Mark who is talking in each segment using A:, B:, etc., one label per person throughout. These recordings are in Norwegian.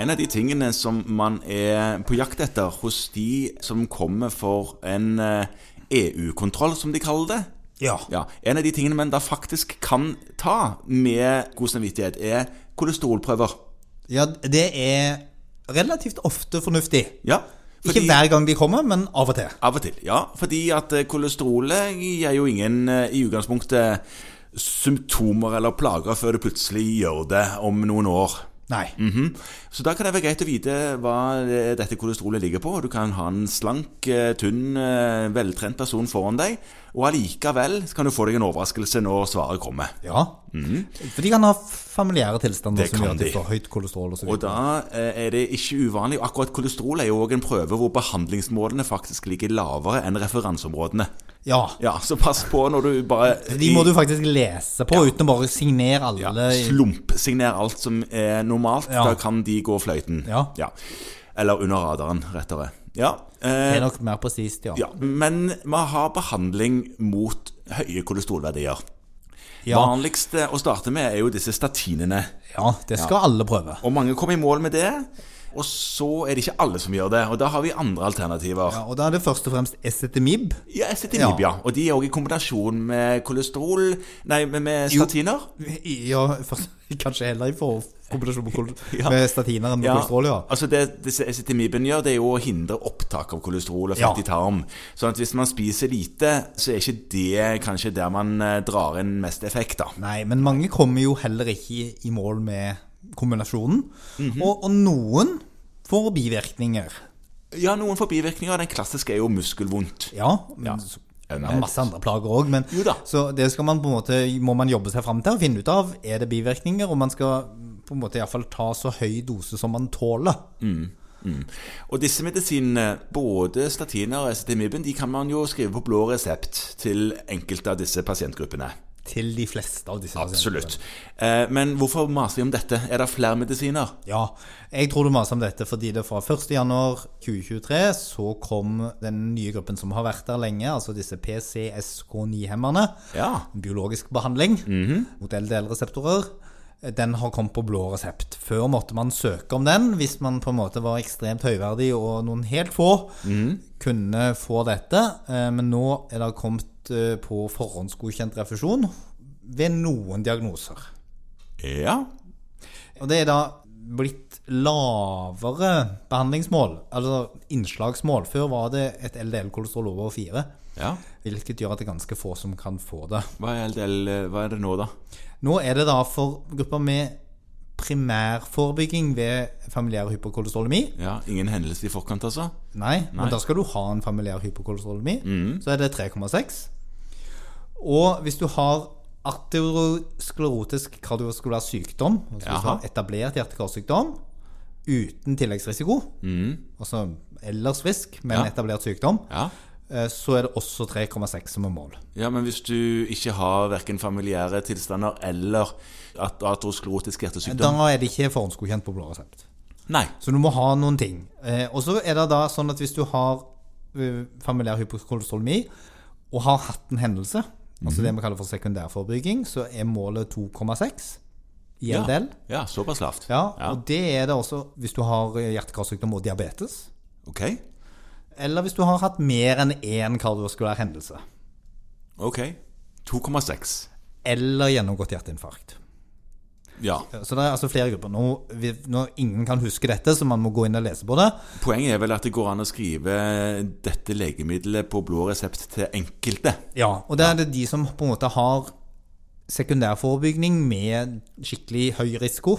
A: En av de tingene som man er på jakt etter hos de som kommer for en eh, EU-kontroll, som de kaller det
B: Ja.
A: ja, En av de tingene man da faktisk kan ta med god samvittighet, er kolesterolprøver.
B: ja, det er relativt ofte fornuftig.
A: Ja, fordi-
B: Ikke hver gang de kommer, men av og til.
A: Av og til, ja. Fordi at eh, kolesterolet gir jo ingen eh, i utgangspunktet symptomer eller plager før det plutselig gjør det om noen år.
B: Nei.
A: Mhm. Så da kan det være greit å vite hva eh, dette kolesterolet ligger på. Du kan ha en slank, eh, tynn, eh, veltrent person foran deg, og allikevel så kan du få deg en overraskelse når svaret kommer.
B: Ja. For de kan ha familiære
A: Mm.
B: tilstander
A: Det
B: som gjør
A: kan
B: at de
A: de.
B: får høyt kolesterol og så
A: Og
B: videre.
A: da eh, er det ikke uvanlig. og Akkurat kolesterol er jo òg en prøve hvor behandlingsmålene faktisk ligger lavere enn referanseområdene.
B: Ja.
A: Ja, så pass på når du bare
B: De må du faktisk lese på uten å bare signere alle.
A: Slump. Signer alt som er normalt.
B: Ja.
A: Da kan de gå fløyten.
B: Ja.
A: Eller under radaren, rettere. Ja.
B: Det er
A: Eh,
B: nok mer presist, ja.
A: ja. Men vi har behandling mot høye kolesterolverdier.
B: Ja,
A: Vanligst eh, å starte med er jo disse statinene.
B: ja det skal alle prøve.
A: Og mange kommer i mål med det. Og så er det ikke alle som gjør det. Og da har vi andre alternativer.
B: Ja, og da er det først og fremst estetimib.
A: Ja, Estetinib, ja.
B: Ja.
A: Og de er òg i kombinasjon med kolesterol Nei, med, med statiner.
B: Ja, først, kanskje heller i for- kombinasjon med, kol-
A: Ja.
B: med statiner enn med kolesterol, ja.
A: Altså det disse acetamiben gjør, det er jo å hindre opptak av kolesterol og
B: Ja.
A: fett i tarm. Sånn at hvis man spiser lite, så er ikke det kanskje der man eh, drar inn mest effekt, da.
B: Nei, men mange kommer jo heller ikke i, i mål med kombinasjonen. og, og noen får bivirkninger.
A: Ja, noen får bivirkninger. Den klassiske er jo muskelvondt.
B: Ja, men så- det er masse andre plager òg, men
A: Jo da.
B: så det skal man på en måte, må man jobbe seg fram til og finne ut av. Er det bivirkninger? Og man skal på en måte i hvert fall ta så høy dose som man tåler.
A: Og disse medisinene, både statiner og acetamiben, de kan man jo skrive på blå resept til enkelte av disse pasientgruppene.
B: Til de fleste av disse
A: Absolutt. Eh, Men hvorfor maser vi om dette? Er det flere medisiner?
B: Ja, jeg tror du maser om dette fordi det fra 1.1.2023 så kom den nye gruppen som har vært der lenge, altså disse PCSK9-hemmerne,
A: Ja.
B: biologisk behandling mot LDL-reseptorer, den har kommet på blå resept. Før måtte man søke om den hvis man på en måte var ekstremt høyverdig og noen helt få kunne få dette, eh, men nå er det kommet eh, på forhåndsgodkjent refusjon ved noen diagnoser.
A: Ja.
B: Og det er da blitt lavere behandlingsmål, altså innslagsmål. Før var det et LDL-kolesterol over 4,
A: ja.
B: hvilket gjør at det er ganske få som kan få det.
A: Hva er LDL, eh, hva er det nå, da?
B: Nå er det da for grupper med primærforebygging ved familiær hyperkolesterolemi.
A: Ja, Ingen hendelse i forkant, altså?
B: Nei, men da skal du ha en familiær hyperkolesterolemi. Så er det 3,6. Og hvis du har arteriosklerotisk kardiovaskulær sykdom, altså hvis du
A: Jaha.
B: har etablert hjerte-karsykdom uten tilleggsrisiko, altså ellers frisk, men
A: Ja.
B: etablert sykdom,
A: Ja.
B: eh, så er det også 3,6 som er mål.
A: ja, men hvis du ikke har hverken familiære tilstander eller at atrosklerotisk
B: Da
A: hjertesykdom
B: er det ikke forhåndsgodkjent på blå resept.
A: Nei.
B: Så du må ha noen ting. Eh, og så er det da sånn at hvis du har eh, familiær hypokolesterolemi og har hatt en hendelse, altså det vi kaller for sekundærforebygging, så er målet 2,6 i
A: Ja.
B: en del.
A: Ja, såpass lavt.
B: Ja, og det er det også hvis du har eh, hjerte-karsykdom og diabetes.
A: Ok.
B: Eller hvis du har hatt mer enn én kardiovaskulær hendelse.
A: Ok. 2,6.
B: Eller gjennomgått hjerteinfarkt.
A: Ja.
B: Så det er altså flere grupper. Nå, vi, nå ingen kan huske dette, så man må gå inn og lese på det.
A: Poenget er vel at det går an å skrive dette legemiddelet på blå resept til enkelte.
B: Ja, og det er det de som på en måte har sekundærforebygging med skikkelig høy risiko,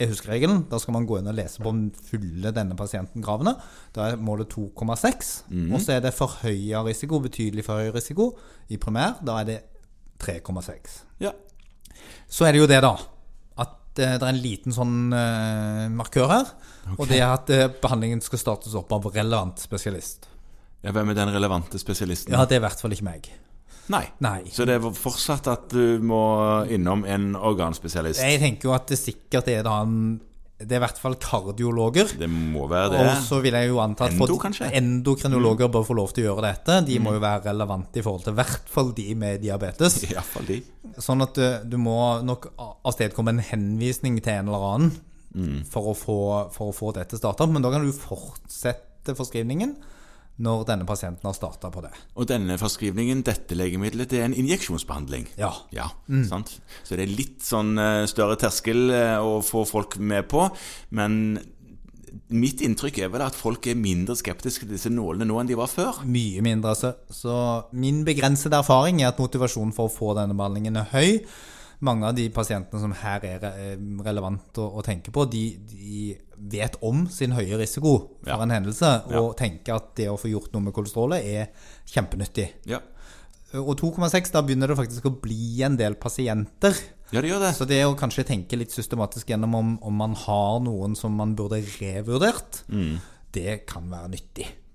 B: er huskeregelen. Da skal man gå inn og lese på om fyller denne pasienten kravene. Da er målet 2,6. Og så er det forhøya risiko, betydelig forhøya risiko, i primær. Da er det 3,6.
A: Ja.
B: Så er det jo det, da. At eh, det er en liten sånn eh, markør her. Og det er at eh, behandlingen skal startes opp av relevant spesialist.
A: ja. Hvem er den relevante spesialisten?
B: Ja, det er i hvert fall ikke meg.
A: Nei.
B: Nei.
A: Så det er fortsatt at du må innom en organspesialist.
B: Jeg tenker jo at det sikkert er da en Det er i hvert fall kardiologer.
A: Det må være det.
B: Og så vil jeg jo anta at
A: Endo,
B: for-
A: kanskje? Mm.
B: endokrinologer bør få lov til å gjøre dette. De må jo være relevante i forhold til i hvert fall de med diabetes. eh,
A: Iallfall de.
B: Sånn at du, du må nok a- avstedkomme en henvisning til en eller annen
A: Mm.
B: for, å få, for å få det til å starte. Men da kan du fortsette forskrivningen når denne pasienten har starta på det.
A: Og denne forskrivningen, dette legemiddelet, det er en injeksjonsbehandling.
B: Ja.
A: Ja, sant? Så det er litt sånn eh, større terskel eh, å få folk med på, men mitt inntrykk er vel at folk er mindre skeptiske til disse nålene nå enn de var før.
B: Mye mindre. Så, så min begrensede erfaring er at motivasjonen for å få denne behandlingen er høy. Mange av de pasientene som her er re- eh, relevant å, å tenke på, de, de vet om sin høye risiko for
A: Ja.
B: en hendelse, og
A: Ja.
B: tenker at det å få gjort noe med kolesterolet er kjempenyttig.
A: Ja,
B: Og 2,6, da begynner det faktisk å bli en del pasienter.
A: ja det gjør det.
B: Så det å kanskje tenke litt systematisk gjennom
A: Mm.
B: om, om man har noen som man burde revurdert, det kan være nyttig.